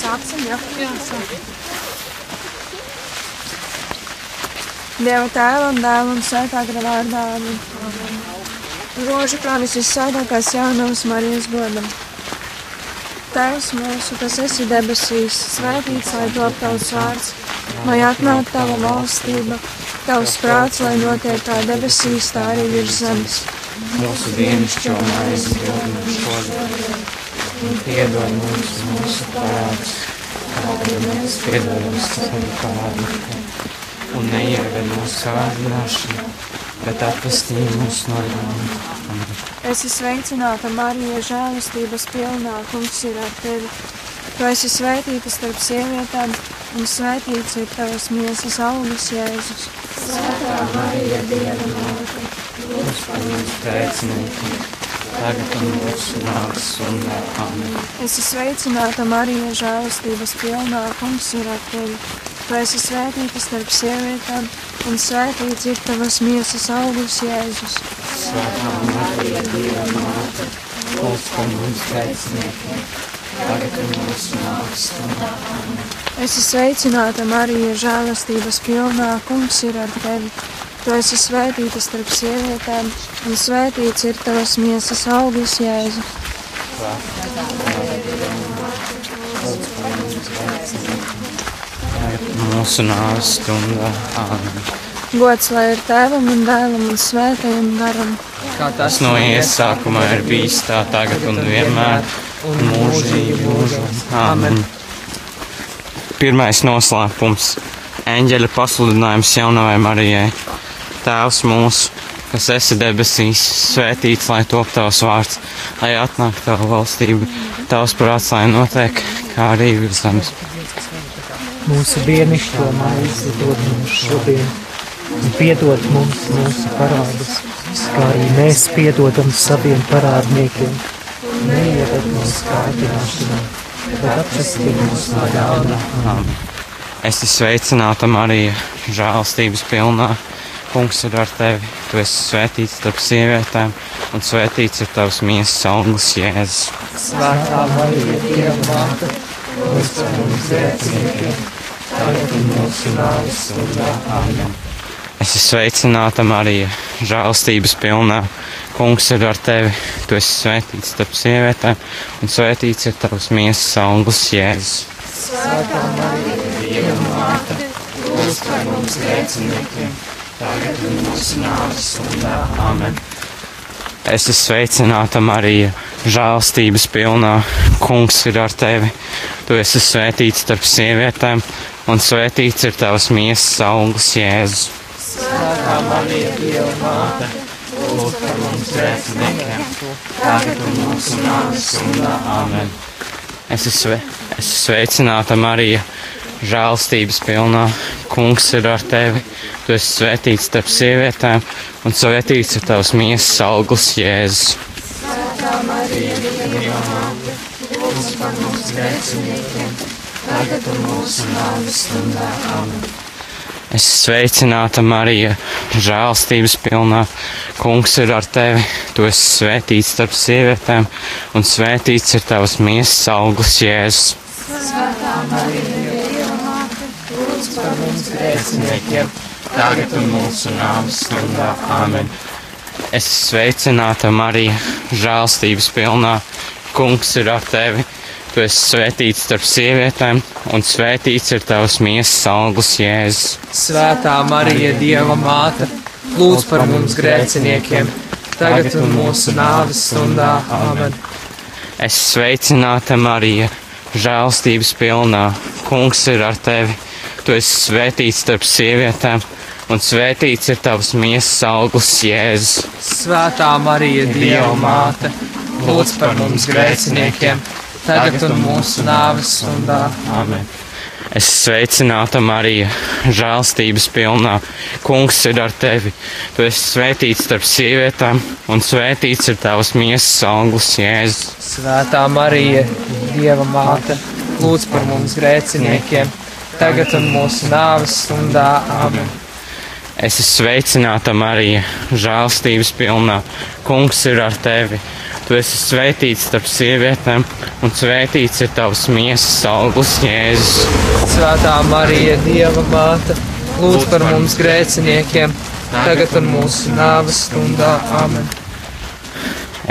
nāksim, jā. Jā, sākam. Dieva tēva un dēla un svētā gara vārdā. amen. Rožu kronis visvētākās jaunavas Marijas godam. Tēvs mūsu, kas esi debesīs, svētīts lai top tavs vārds, lai atnāk tava valstība, tavs prāts, lai notiek kā debesīs, tā arī virs zemes. mūsu dienascho maizi dod mums šodien, un piedod mums mūsu parādus, kā arī mēs piedodam saviem parādniekiem, un neieved mūsu kārdināšanā, bet atpestī mūs no ļaunuma. Es esmu sveicināta, Marija, žēlastības pilnā, kungs ir ar tevi. Tu esi svētīta starp sievietēm, un svētīts ir tavas miesas augurs, Jēzus. Mums pēcinieki, tagad un mūsu nāks un nākamā. Es esmu sveicināta, Marija, žēlastības pilnā, kungs ir ar tevi. Tu esi svētīta starp sievietēm, un svētīts ir tavas miesas augurs, Jēzus. Svētā Marija, Dieva māte, lūdz par mums pēciniekiem, tagad un mūsu nāks un nākamā. Es esmu sveicināta, Marija, žēlastības pilnā, kungs ir ar tevi. Tu esi svētīta starp sievietēm, un svētīts ir tavas miesas augurs, Jēzu. Mūsu nāks stundā. Āmen. Gods lai ir tēvam un dēlam un svētajam garam. Kā Tas no iesākuma ir bijis tā tagad un vienmēr, un mūžīgi mūžam. Āmen. Pirmais noslēpums - eņģeļa pasludinājums jaunavai Marijai. Tēvs mūsu, kas esi debesīs, svētīts lai top tavs vārds, lai atnāk tava valstība, tavs prāts, lai notiek kā arī virs zemes. Mūsu dienascho maizi dod mums šodien, un piedod mums mūsu parādus, kā arī mēs piedodam saviem parādniekiem. Un Neieved mūsu kārdināšanā, bet atpestī mūs no ļaunā. Āmen. Es esmu sveicināta Marija, žēlstības pilnā. Kungs ir ar tevi. Tu esi svētīts starp sievietēm, un svētīts ir tavs miesas auglis, Jēzus. Svētā Marija, Dieva māte, lūdz par mums grēciniekiem, tagad un mūsu nāves stundā. Āmen. Es esmu sveicināta Marija, žēlstības pilnā. Kungs ir ar tevi. Tu esi svētīts starp sievietēm, un svētīts ir tavs miesas auglis, Jēzus. Es esmu sveicināta Marija, žēlstības pilnā. Kungs ir ar tevi. Tu esi svētīts starp sievietēm, un svētīts ir tavs miesas augurs, Jēzus. Es esmu sve- es esmu sveicināta Marija, žēlstības pilnā. Kungs ir ar tevi. Tu esi svētīts starp sievietēm, un svētīts ir tavs miesas augurs, Jēzus. Es sveicināta Marija, žēlstības pilnā. Kungs ir ar tevi. Tu esi svētīts starp sievietēm, un svētīts ir tavs miesas augurs, Jēzus. Tagad un mūsu nāves stundā. Āmen. Es sveicināta Marija, žēlstības pilnā. Kungs ir ar tevi. Tu esi svētīts starp sievietēm, un svētīts ir tavs miesas augurs, Jēzus. Svētā Marija, Dieva māte, lūdz par mums grēciniekiem, tagad un mūsu nāves stundā. Amen. Es sveicināta Marija, žēlstības pilnā. Kungs ir ar tevi. Tu esi svētīts starp sievietēm, un svētīts ir tavs miesas augurs, Jēzus. Svētā Marija, Dieva māte, lūdz par mums grēciniekiem, tagad un mūsu nāves stundā. Amen. Es sveicināta Marija, žēlstības pilnā. Kungs ir ar tevi. Tu esi svētīts starp sievietēm, un svētīts ir tavs miesas augurs, Jēzus. Svētā Marija, Dieva māte, lūdz par mums grēciniekiem, tagad un mūsu nāves stundā. Amen. Es esmu sveicināta Marija, žēlstības pilnā. Kungs ir ar tevi. Tu tu esi svētīts starp sievietēm, un svētīts ir tavs miesas augurs, Jēzus. Svētā Marija, Dieva māte, lūdz par mums grēciniekiem, tagad un mūsu nāves stundā. Amen!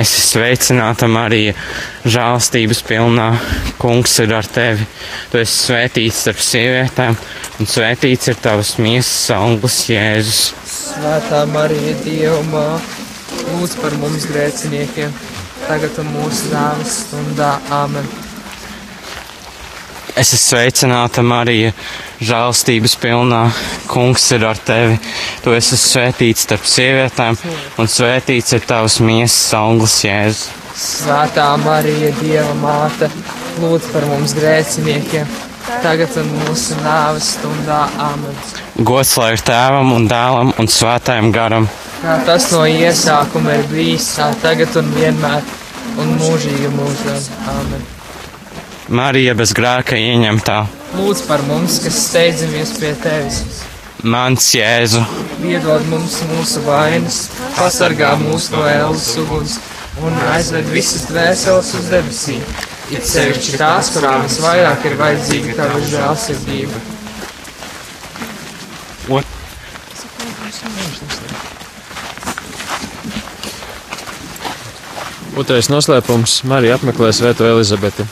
Es esmu sveicināta Marija, žēlstības pilnā. Kungs ir ar tevi. Tu esi svētīts starp sievietēm, un svētīts ir tavs miesas augurs, Jēzus. Svētā Marija, Dieva māte, lūdz par mums grēciniekiem, tagad un mūsu nāves stundā. Amen! Es esmu sveicināta, Marija, žēlstības pilnā. Kungs ir ar tevi. Tu esi svētīts starp sievietēm, un svētīts ir tavs miesas augurs, Jēzus. Svētā Marija, Dieva māte, lūdz par mums grēciniekiem, tagad un mūsu nāves stundā. Amen! Gods lai ir tēvam un dēlam un svētājam garam. Kā tas no iesākuma ir bijis, tā tagad un vienmēr, un mūžīgi mūžam. Amen! Marija bez grēka ieņemtā. Lūdz par mums, kas steidzamies pie tevis, Mans Jēzu, piedod mums mūsu vainas, pasargā mūs no ēlas uguns un aizved visas dvēseles uz debesīm. It sevišķi tās, kurām visvairāk ir vajadzīga tava žēlsirdība. Otrais noslēpums - Marija apmeklē Svēto Elizabeti.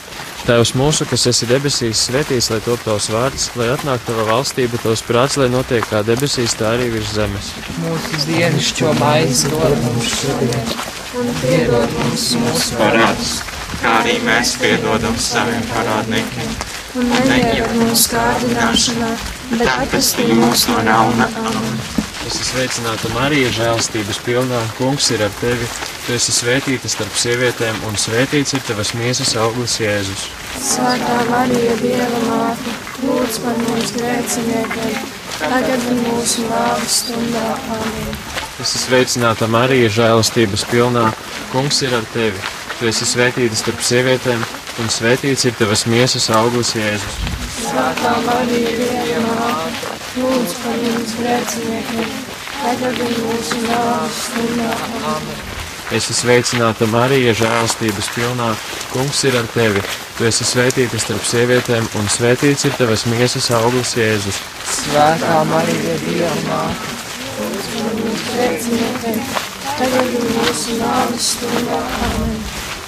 Tēvs mūsu, kas esi debesīs, svētīs, lai top tavs vārds, lai atnāktu tava valstība, tavs prāts, lai notiek kā debesīs, tā arī virs zemes. Mūsu dienascho maizi dod mums šodien, un piedod mums mūsu parāds, kā arī mēs piedodam saviem parādniekiem, un neieved mūsu kārdināšanā, bet atpestī mūs no ļauna. Amen. Es esmu sveicināta Marija, žēlstības pilnā, kungs ir ar tevi. Tu esi svētīta starp sievietēm, un svētīts ir tavas miesas auglis Jēzus. Svētā Marija, Dieva māte, lūdz par mums grēciniekiem, tagad un mūsu nāves stundā. Amen. Es esmu sveicināta Marija, žēlastības pilnā. Kungs ir ar tevi. Tu esi svētīta starp sievietēm, un svētīts ir tavas miesas augurs Jēzus. Svētā Marija, Dieva māte, lūdz par mums grēciniekiem, tagad un mūsu nāves stundā. Amen. Es esmu sveicināta Marija, žēlastības pilnā. Kungs ir ar tevi. Tu esi svētīta starp sievietēm, un svētīts ir tavas miesas augurs Jēzus. svētā Marija, Dieva māte. Grēciniekiem, tagad un mūsu nāves stundā. Amen.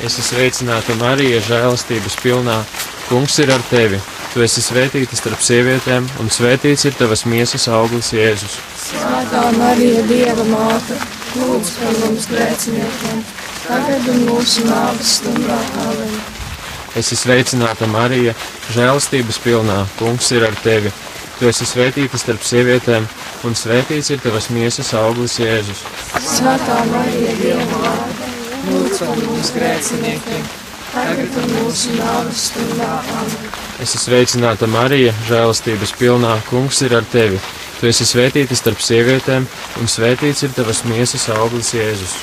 Es esmu sveicināta Marija, žēlastības pilnā. Kungs ir ar tevi. Tu esi svētīta starp sievietēm, un svētīts ir tavas miesas auglis Jēzus. Svētā Marija, Dieva māte, lūdz par mums grēciniekiem, tagad un mūsu nāves stundā. Amen. Es esmu sveicināta Marija, žēlastības pilnā. Kungs ir ar tevi. Tu esi svētīta starp sievietēm, un svētīts ir tavas miesas auglis Jēzus. Svētā Marija, Dieva māte, lūdz par mums grēciniekiem, tagad un mūsu nāves stundā. Amen. Es esmu sveicināta Marija, žēlastības pilnā. Kungs ir ar tevi. Tu esi svētīta starp sievietēm, un svētīts ir tavas miesas auglis Jēzus.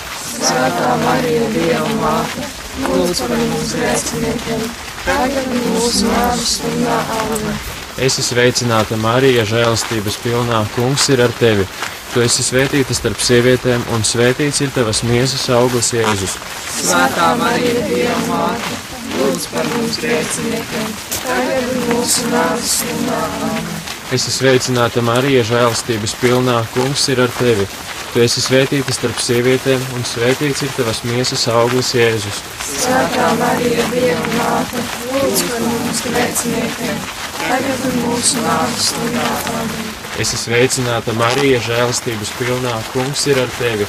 Svētā Marija, Dieva māte, lūdz par mums grēciniekiem, tagad un mūsu nāves stundā. Amen. Es esmu sveicināta Marija, žēlastības pilnā. Kungs ir ar tevi. Tu esi svētīta starp sievietēm, un svētīts ir tavas miesas auglis Jēzus. Svētā Marija, Dieva māte, lūdz par mums grēciniekiem, Tagad un mūsu nāves stundā. Amen. Es esmu sveicināta Marija, žēlastības pilnā. Kungs ir ar tevi. Tu esi svētīta starp sievietēm, un svētīts ir tavas miesas auglis Jēzus. Svētā Marija, Dieva māte, lūdz par mums grēciniekiem, tagad un mūsu nāves stundā. Amen. Es esmu sveicināta Marija, žēlastības pilnā. Kungs ir ar tevi.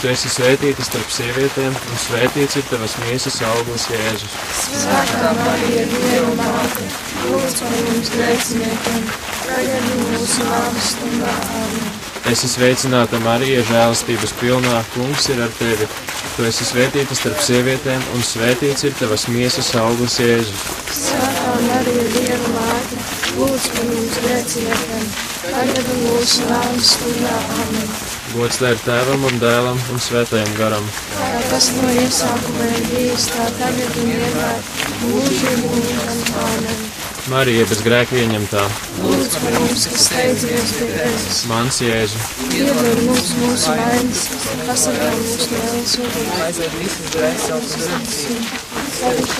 Tu esi svētīta starp sievietēm, un svētīts ir tavas miesas auglis Jēzus. Svētā Marija, Dieva māte, lūdz par mums grēciniekiem, tagad un mūsu nāves stundā. Amen. Es esmu sveicināta Marija, žēlastības pilnā. Kungs ir ar tevi. Tu esi svētīta starp sievietēm, un svētīts ir tavas miesas augurs Jēzus. Svētā Marija, Dieva māte, lūdz par mums grēciniekiem, tagad un mūsu nāves stundā. Amen. Gods lai ir tēvam un dēlam un svētajam garam. Kā tas no iesākuma ir bijis, tā tagad un vienmēr mūžīgi mūžam. Amen. Marija bez grēka ieņemtā, Lūdz par mums, kas steidzamies pie Jēzus. mans Jēzu, Iedod mums mūsu vainas, pasargā mūsu no ēnas uguns. aizved visas dvēseles uz debesīm.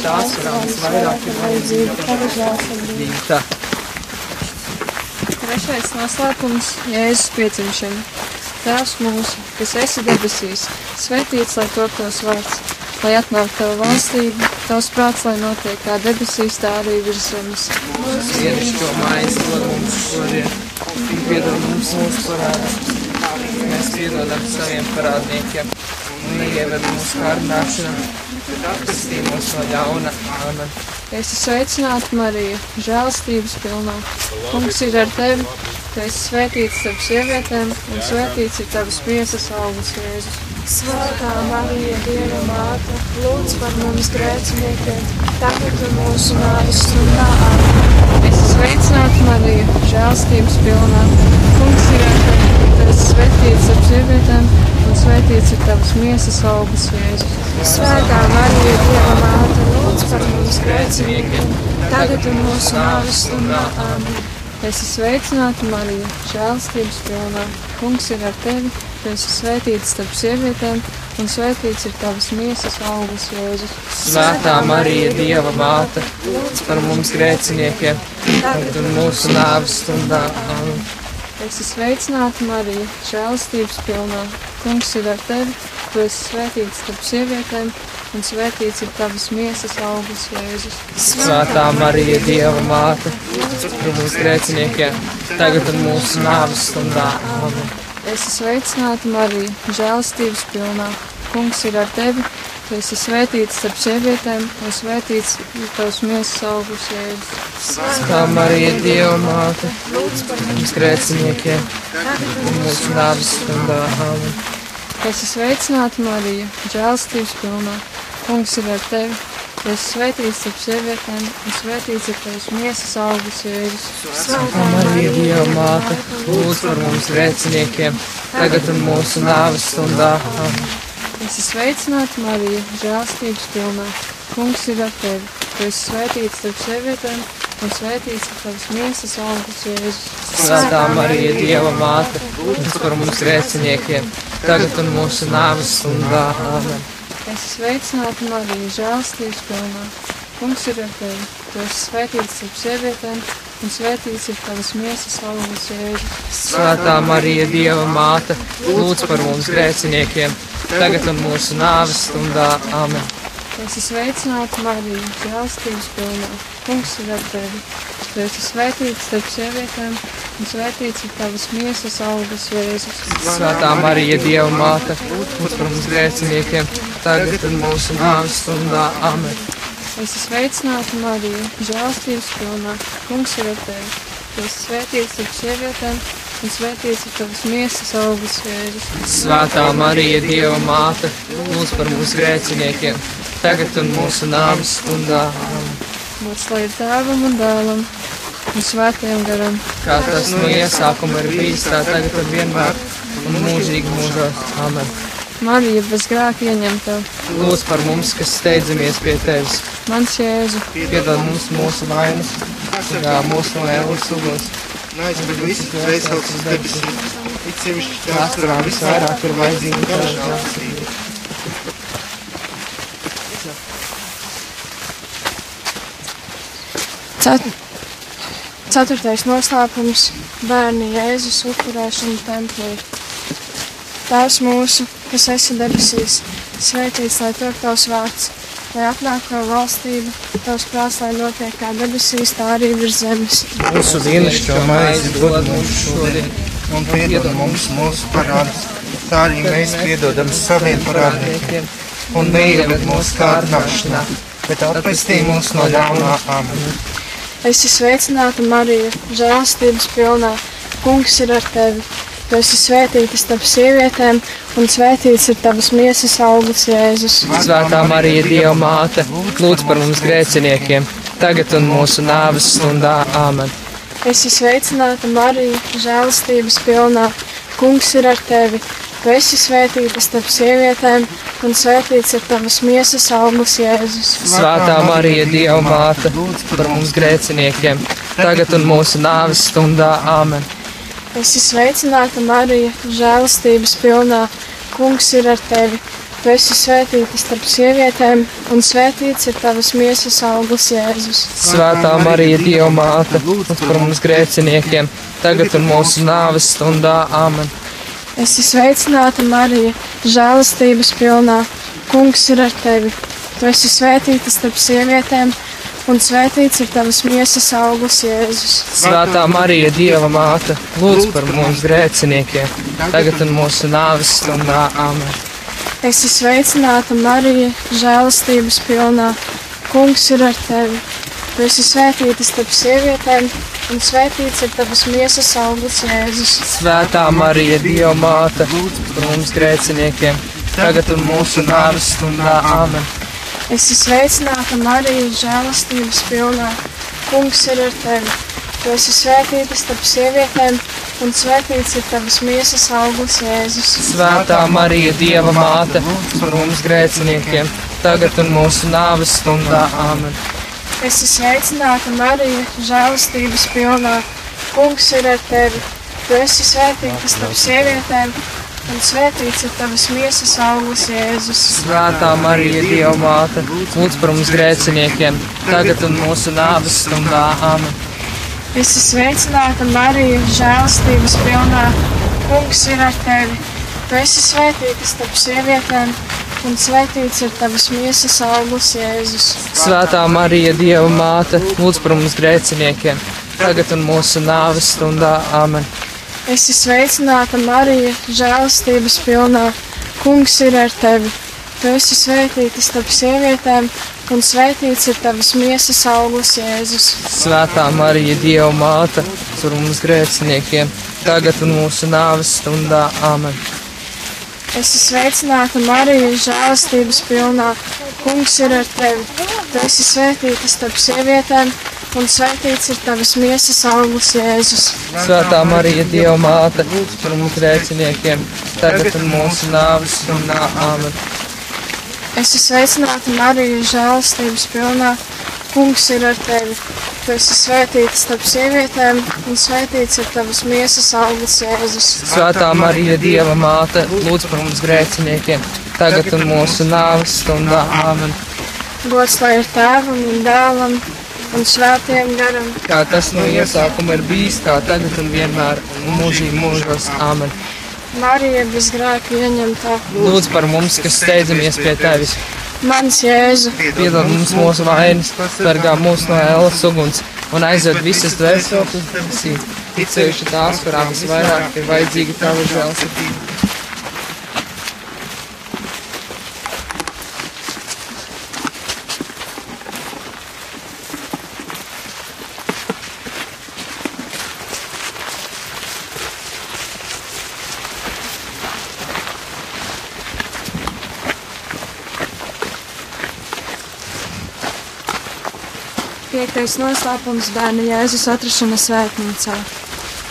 Tās prāmas vairāk ir vajadzība, pagaidāsim. Dīta. Trešais noslēpums - Jēzus piedzimšana. Tēvs mūsu, kas esi debesīs, svētīts, lai top tavs vārds, lai atnāktu tava valstība, tavs prāts, lai notiek kā debesīs, tā arī virs zemes. Dienascho maizi dod mums šodien, un piedod mums mūsu parādus. Mēs piedodam saviem parādniekiem, un neieved mūsu kārdināšanā, bet atpestī mūs no ļauna. Amen. Es esmu sveicināta, Marija, žēlstības pilnā. Kungs ir ar tevi, tu esi svētīts starp sievietēm, un svētīts ir tavas miesas augurs, Jēzus. Svētā Marija, Dieva māte, lūdz par mums grēciniekiem, tagad ir mūsu nāves stundā. Es esmu sveicināta, Marija, žēlstības pilnā. Kungs ir ar tevi, tu esi svētīts starp sievietēm, un svētīts ir tavas miesas augurs, Jēzus. Svētā Marija, Dieva māte, lūdz par mums grēciniekiem, tagad ir mūsu nāves stundā. Amen. Es esmu sveicināta, Marija, žēlstības pilnā. Kungs ir ar tevi, tu esi svētīts starp sievietēm, un svētīts ir tavas miesas augurs, Jēzus. Svētā Marija, Dieva māte, lūdz par mums grēciniekiem, tagad un mūsu nāves stundā. um, Amen. Es esmu sveicināta, Marija, žēlstības pilnā. Kungs ir ar tevi, tu esi svētīts starp sievietēm, un svētīts ir tavas miesas augurs, Jēzus. Svētā Marija, Dieva māte, lūdz par mums grēciniekiem, tagad un mūsu nāves stundā. um, Amen. Es esmu sveicināta, Marija, žēlstības pilnā. Kungs ir ar tevi, tu esi svētīts starp sievietēm, un svētīts ir tavs miesas augurs, Jēzus. Svētā Marija, Dieva māte, lūdz par mums grēciniekiem, tagad un mūsu nāves stundā. um, Amen. Es esmu sveicināta, Marija, žēlstības pilnā. Kungs ir ar tevi. Tu esi svētīts starp sievietēm, un svētīts ir tavs miesas augurs, Jēzus. Svētā Marija, Dieva māte, lūdz par mums grēciniekiem, tagad un mūsu nāves stundā. um, Amen. Es esmu sveicināta, Marija, žēlstības pilnā. Kungs ir ar tevi. Tu esi svētīts starp sievietēm, un svētīts ir tavs miesas augurs, Jēzus. Svētā Marija, Dieva māte, lūdz par mums grēciniekiem, tagad un mūsu nāves stundā. um, Amen. Es esmu sveicināta, Marija, žēlstības pilnā. Kungs ir ar tevi. Tu esi svētīts starp sievietēm, un svētīts ir tavas miesas augurs, Jēzus. Svētā Marija, Dieva māte, lūdz par Es esmu mums grēciniekiem, tagad un mūsu nāves stundā. Amen. sveicināta, Marija, žēlstības pilnā. Kungs ir ar tevi. Tu esi svētīts starp sievietēm, un svētīts ir tavas miesas augurs, Jēzus. Svētā Marija, Dieva māte, lūdz par mums grēciniekiem, tagad un mūsu nāves stundā. Amen. Es esmu sveicināta, Marija, žēlstības pilnā. Kungs ir ar tevi. Tu esi svētīts starp sievietēm, un svētīts ir tavas miesas augurs, Jēzus. Svētā Marija, Dieva māte, lūdz par mums grēciniekiem, tagad un mūsu nāves stundā. Amen. Mums lai ir tēvam un dēlam un svētajam garam. kā tas no iesākuma ir bijis, tā tagad ir vienmēr un mūžīgi mūžos. Amen. Marija bez grēka ieņemta, Lūdz par mums, kas steidzamies pie tevis. mans jēzu, Piedod mums mūsu vainas, kā mūsu no ēlas uguns. Aizved visas dvēseles uz debesīm, it sevišķi tās, Astrā kurām visvairāk visvairāk ir vajadzīga ir tava žēlastība. žēlstība. Cet... Ceturtais noslēpums - bērni Jēzus upurēšana templī. Tēvs mūsu, kas esi debesīs, svētīts lai top tavs vārds, lai atnāktu tava valstība, tavs prāts, lai notiek kā debesīs, tā arī virs zemes. Mūsu dienascho maizi dod mums šodien. Un piedod mums mūsu parādus, tā arī mēs piedodam saviem parādniekiem, un neieved mūsu kārdināšanā, bet atpestī mūs no ļaunā amen. Es esmu sveicināta Marija, žēlstības pilnā. Kungs ir ar tevi. Tu esi svētīta starp sievietēm, un svētīts ir tavas miesas augurs, Jēzus. Svētā Marija, Dieva māte, lūdz par mums grēciniekiem, tagad un mūsu nāves stundā. Amen. Es esmu sveicināta Marija, žēlastības pilnā. Kungs ir ar tevi. Tu esi svētīta starp sievietēm, un svētīts ir tavas miesas auglis, Jēzus. Svētā Marija, Dieva māte, lūdz par mums grēciniekiem, tagad un mūsu nāves stundā Āmen. Es esmu sveicināta, Marija, žēlastības pilnā. Kungs ir ar tevi. Tu esi svētīta starp sievietēm, un svētīts ir tavas miesas auglis, Jēzus. Svētā Marija, Dieva māte, lūdz par mums grēciniekiem, tagad un mūsu nāves stundā Āmen. Es esmu sveicināta, Marija, žēlastības pilnā. Kungs ir ar tevi. Tu esi svētīta starp sievietēm, un svētīts ir tavas miesas auglis, Jēzus. Svētā Marija, Dieva māte, lūdz par mums grēciniekiem, tagad un mūsu nāves stundā Āmen. Es esmu sveicināta, Marija, žēlastības pilnā. Kungs ir ar tevi. Tu esi svētīta starp sievietēm, un svētīts ir tavas miesas auglis, Jēzus. Svētā Marija, Dieva māte, lūdz par mums grēciniekiem, tagad un mūsu nāves stundā Āmen. Es esmu sveicināta, Marija, žēlastības pilnā. Kungs ir ar tevi. Tu esi svētīta starp sievietēm, un svētīts ir tavas miesas auglis, Jēzus. Svētā Marija, Dieva māte, lūdz par mums grēciniekiem, tagad un mūsu nāves stundā Āmen. Es esmu sveicināta, Marija, žēlastības pilnā. Kungs ir ar tevi. Tu esi svētīta starp sievietēm, un svētīts ir tavas miesas auglis, Jēzus. Svētā Marija, Dieva māte, lūdz par mums grēciniekiem, tagad un mūsu nāves stundā Āmen. Es esmu sveicināta, Marija, žēlastības pilnā. Kungs ir ar tevi. Tu esi svētīta starp sievietēm, un svētīts ir tavas miesas auglis, Jēzus. Svētā Marija, Dieva māte, lūdz par mums grēciniekiem, tagad un mūsu nāves stundā Āmen. Es esmu sveicināta, Marija, žēlastības pilnā. Kungs ir ar tevi. Tu esi svētīta starp sievietēm, un svētīts ir tavas miesas auglis, Jēzus. Svētā Marija, Dieva māte, lūdz par mums grēciniekiem, tagad un mūsu nāves stundā Āmen. Es esmu sveicināta, Marija, žēlastības pilnā. Kungs ir ar tevi. Tu esi svētīta starp sievietēm, un svētīts ir tavas miesas auglis, Jēzus. Svētā Marija, Dieva māte, lūdz par mums grēciniekiem, tagad un mūsu nāves stundā Āmen. Es esmu sveicināta, Marija, žēlastības pilnā. Kungs ir ar tevi. Tu esi svētīta starp sievietēm, un svētīts ir tavas miesas auglis, Jēzus. Svētā Marija, Dieva māte, lūdz par mums grēciniekiem, tagad un mūsu nāves stundā Āmen. Gods lai ir tēvam un dēlam un svētiem garam. Kā tas no iesākuma ir bijis, tā tagad un vienmēr un mūžīgi mūžos Āmen. Marija bez grēka ieņemtā. Lūdz par mums, kas steidzamies pie tevis. Mans Jēzu, Piedod mums mūsu vainas, sargā mūs no ēlas uguns un aizved visas dvēseles uz debesīm. Ticējuši tās, kurām visvairāk ir vajadzīga tava žēlsirdība. Piektais noslēpums bērna Jēzus atrašana svētnīcā.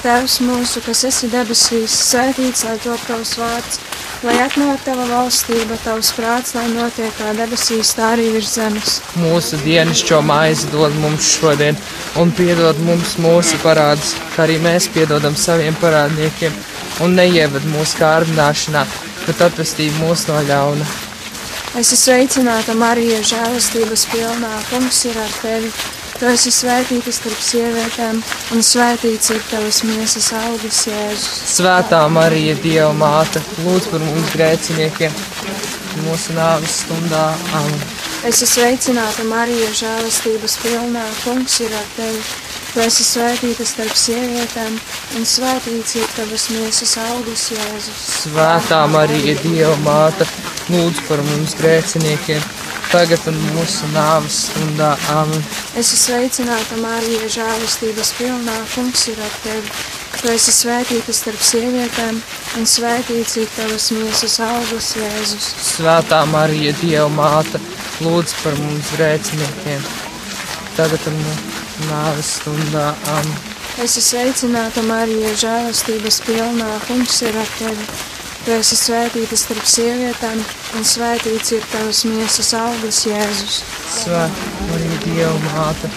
Tēvs mūsu, kas esi debesīs, svētīts lai top tavs vārds, lai atnāktu tava valstība, tavs prāts, lai notiek kā debesīs, tā arī virs zemes. Mūsu dienascho maizi dod mums šodien, un piedod mums mūsu parādus, kā arī mēs piedodam saviem parādniekiem, un neieved mūsu kārdināšanā, bet atpestī mūs no ļauna. Es esmu sveicināta, Marija, žēlastības pilnā. Kungs ir ar tevi. Tu esi svētīta starp sievietēm, un svētīts ir tavas miesas augurs, Jēzus. Svētā Marija, Dieva māte, lūdz par mums grēciniekiem, mūsu nāves stundā. Amen. Es esmu sveicināta, Marija, žēlastības pilnā. Kungs ir ar tevi. Tu esi svētīta starp sievietēm, un svētīts ir tavas miesas augurs, Jēzus. Svētā Marija, Dieva māte, lūdz par mums grēciniekiem, tagad un mūsu nāves stundā. Amen. Es esmu sveicināta, Marija, žēlastības pilnā. Kungs ir ar tevi. Tu esi svētīta starp sievietēm, un svētīts ir tavas miesas augurs, Jēzus. Svētā Marija, Dieva māte, lūdz par mums grēciniekiem, tagad un mūsu nāves stundā. Amen. Es esmu sveicināta, Marija, žēlastības pilnā. Kungs ir ar tevi. Tu esi svētīta starp sievietēm, un svētīts ir tavas miesas augurs, Jēzus. Svētā Marija, Dieva māte,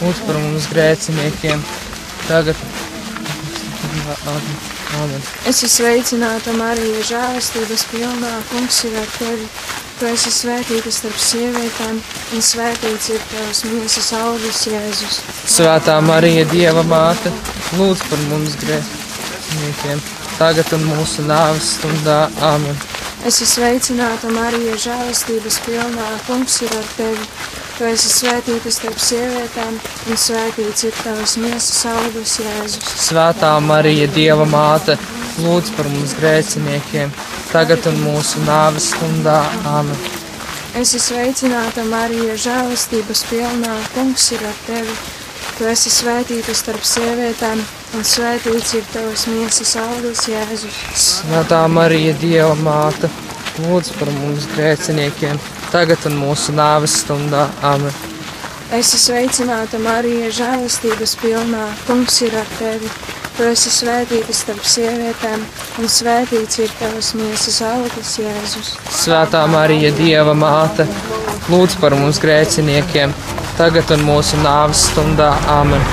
lūdz par mums grēciniekiem, tagad Āmen. Es esmu sveicināta Marija, žēlastības pilnā, kungs ir ar tevi. Tu esi svētīta starp sievietēm, un svētīts ir tavs miesas augurs, Jēzus. Svētā Marija, Dieva māte, lūdz par mums grēciniekiem, tagad un mūsu nāves stundā Āmen. Es esmu sveicināta Marija, žēlastības pilnā, kungs ir ar tevi. Tu esi svētīta starp sievietēm, un svētīts ir tavs miesas augurs, Jēzus. Svētā Marija, Dieva māte, lūdz par mums grēciniekiem, tagad un mūsu nāves stundā Āmen. Es esmu sveicināta Marija, žēlastības pilnā, kungs ir ar tevi. Tu esi svētīta starp sievietēm, un svētīts ir tavs miesas augurs, Jēzus. Svētā Marija, Dieva māte, lūdz par mums grēciniekiem, tagad un mūsu nāves stundā Āmen. Es esmu sveicināta Marija, žēlastības pilnā, kungs ir ar tevi. Tu esi svētīta starp sievietēm, un svētīts ir tavs miesas augurs, Jēzus. Svētā Marija, Dieva māte, lūdz par mums grēciniekiem, tagad un mūsu nāves stundā Āmen.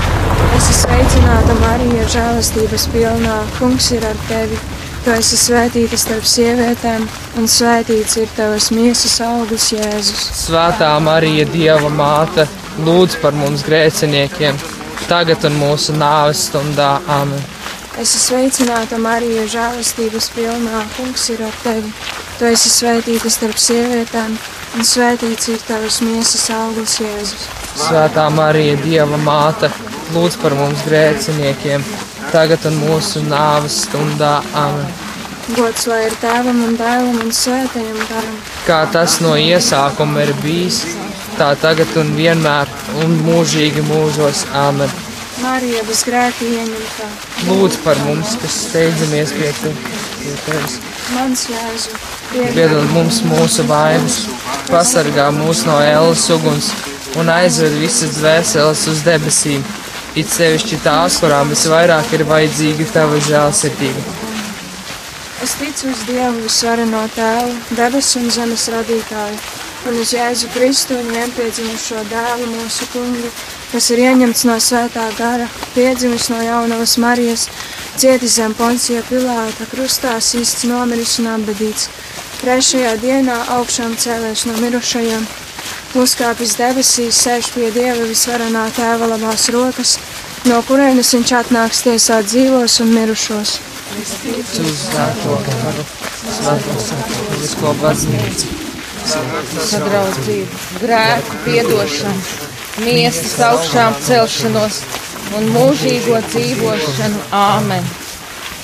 Es esmu sveicināta Marija, žēlastības pilnā, kungs ir ar tevi. Tu esi svētīta starp sievietēm, un svētīts ir tavs miesas augurs, Jēzus. Svētā Marija, Dieva māte, lūdz par mums grēciniekiem, tagad un mūsu nāves stundā Āmen. Es esmu sveicināta Marija, žēlastības pilnā. Kungs ir ar tevi. Tu esi svētīta starp sievietēm, un svētīts ir tavs miesas augurs, Jēzus. Svētā Marija, Dieva māte, lūdz par mums grēciniekiem, tagad un mūsu nāves stundā Āmen. Gods lai ir tēvam un dēlam un svētajam garam. Kā tas no iesākuma ir bijis, tā tagad un vienmēr un mūžīgi mūžos Āmen. Marija bez grēka ieņemtā, Lūdz par mums, kas steidzamies pie te- pie tevis. mans Jēzu, piedod Piedod mums mūsu vainas, pasargā mūs no ēlas uguns un aizved visas dvēseles uz debesīm, it sevišķi tās, kurām visvairāk ir vajadzīga tava žēlsirdība. Es ticu uz Dievu visvareno tēvu, debesu un zemes radītāju, un uz Jēzu Kristu un vienpiedzimušo dēlu mūsu kungu, kas ir ieņemts no svētā gara, piedzimis no jaunavas Marijas, cietis zem poncija pilāta, krustā īsts nomiris un apbedīts. Trešajā dienā augšām cēlēs no mirušajiem, uzkāpis debesīs, sēž pie Dieva visvarenā tēva labās rokas, no kurienes viņš atnāks tiesāt dzīvos un mirušos. Visko baznīca. sadraudzību, grēku piedošanu, miesas augšām celšanos un mūžīgo dzīvošanu. Āmen!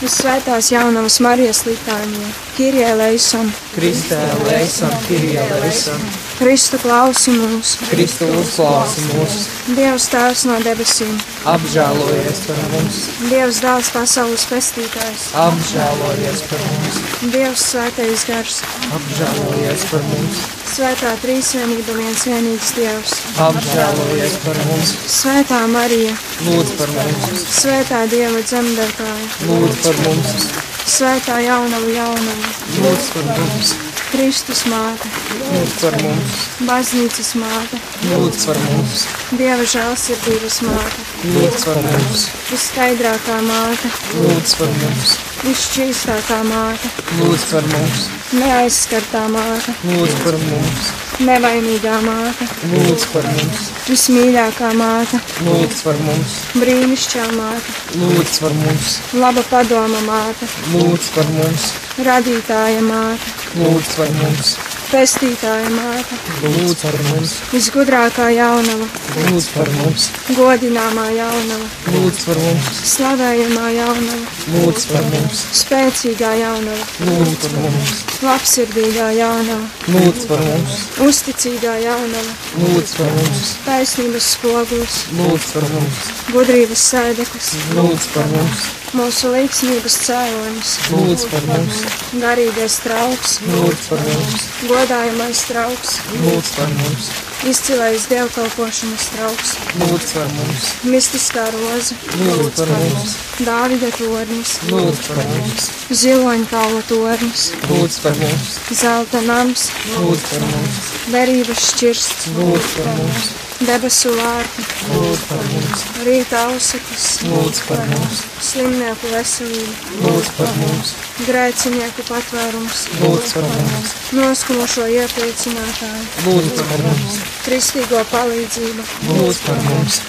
Visvētās jaunavas Marijas litānija, Kirie leisam, Kristē, leisam, Kirijā, leisam, Kristu klausi mūs, Kristu uzklausi mūsu, Dievs tēvs no debesīm, apžēlojies par mums, Dievs dēls pasaules pestītājs, apžēlojies par mums, Dievs svētais gars, apžēlojies par mums, svētā trīsvienība viens vienīgs Dievs, apžēlojies par mums, svētā Marija, lūdz par mums, svētā Dieva dzemdētāja, lūdz par mums, svētā jaunava jaunava, lūdz par mums, Kristus māte, lūdz par mums, baznīcas māte, lūdz par mums, Dieva žēlsirdības māte, lūdz par mums, visskaidrākā māte, lūdz par mums, visšķīstākā māte, lūdz par mums, neaizskartā māte, lūdz par mums, nevainīgā māte. lūdz par mums, Vismīļākā māte, lūdz par mums, brīnišķīgā māte, lūdz par mums, laba padoma māte, lūdz par mums, radītāja māte, lūdz par mums. pestītāja māte, Lūdz par mums, visgudrākā jaunava, lūdz par mums, godināmā jaunava, lūdz par mums, slavējamā jaunava, lūdz par mums, spēcīgā jaunava, lūdz par mums, labsirdīgā jaunava, lūdz par mums, uzticīgā jaunava, lūdz par mums, taisnības spogulis, lūdz par mums, gudrības sēdeklis, lūdz par mums, mūsu līdzsvarības cēlonis, lūdz par mums, garīgais trauks, lūdz par mums, gods godājumais trauks, lūdz par mums, izcilais dievkalpošanas trauks, lūdz par mums, mistiskā roze, lūdz par mums, Dāvida tornis, lūdz par mums, ziloņkaula tornis, lūdz par mums, zelta nams, lūdz par mums, derības šķirsts, lūdz par mums, debesu vārti, lūdz par mums, rīta ausakas, lūdz par mums, slimnieku veselību, lūdz par mums, grēcinieku patvērums, lūdz par mums, noskumušo iepriecinātāju, lūdz par mums, kristīgo palīdzību, lūdz par mums,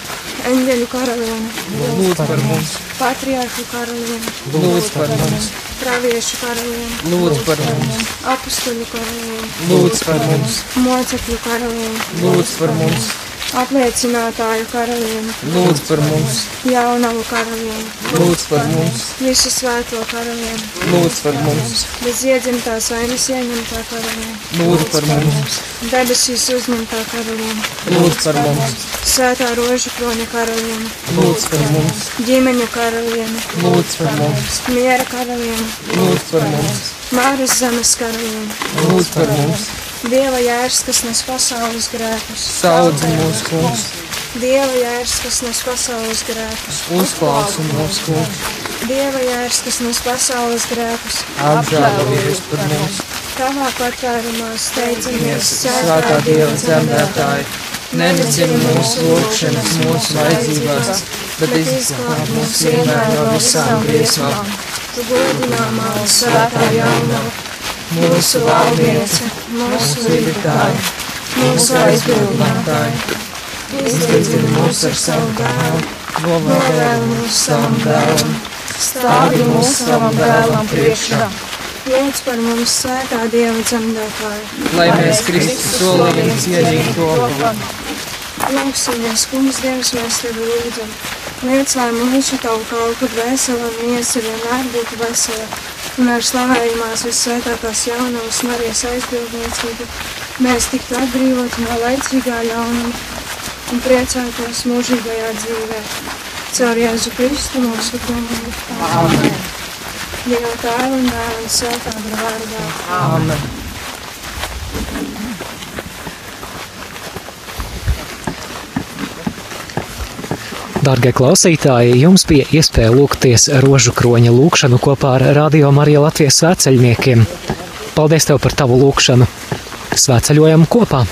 eņģeļu karalieni, lūdz par mums, patriārhu karalieni, lūdz par mums, praviešu karalieni, lūdz par mums, apustuļu karalieni, lūdz par mums, mocekļu karalieni, lūdz par mums, apliecinātāju karalieni, lūdz par mums, jaunavu karalieni, lūdz par mums, visu svēto karalieni, lūdz par mums, bez iedzimtās vainas ieņemtā karalieni, lūdz par mums, debesīs uzņemtā karalieni, lūdz par mums, svētā rožu kroņa karalieni, lūdz par mums, ģimeņu karalieni, lūdz par mums, miera karalieni, lūdz par mums, māras zemes karalieni. lūdz par mums, Dieva jērs, kas nes pasaules grēkus, saudz mūsu kungs, Dieva jērs, kas nes pasaules grēkus, uzklausa mūsu kungs, Dieva jērs, kas nes pasaules grēkus, apžēlojies par mums, tavā patvērumā steidzamies, svētā Dieva dzemdētāji, nenicina mūsu lūgšanas, mūsu vajadzībās, bet izglāb mūs vienmēr no visām briesmām, Tu godināmā un svētā jaunā, mūsu valdniece, mūsu dzirdētāji, mūsu aizbildnā, aizbildinātāji, izlīdzina mūs ar savu dēlu, novēl novēl mūsu savam dēlam, stāvi Tādi mūsu mūsu savam dēlam priekšā. Lūdz par mums svētā Dieva dzemdētāju. lai mēs Kristus solījumi cienītu to, Lūksimies, kungs, Dievs, mēs tevi lūdzam. Liec, lai mūsu tavu kalpu dvēsele un miesa vienmēr būtu vesela. Un ar slavējumās visvētākās jaunavas Marijas aizbildniecību mēs tiktu atbrīvoti no laicīgā ļaunuma un priecātos mūžīgajā dzīvē. Caur Jēzu Kristu mūsu kungu. Amen. Dieva tēva un dēla un svētā gara vārdā. āmen. Dargie klausītāji, jums bija iespēja lūgties rožu kroņa lūgšanu kopā ar Radio Mariju Latvijas svētceļniekiem. Paldies tev par tavu lūgšanu! Svētceļojam kopā!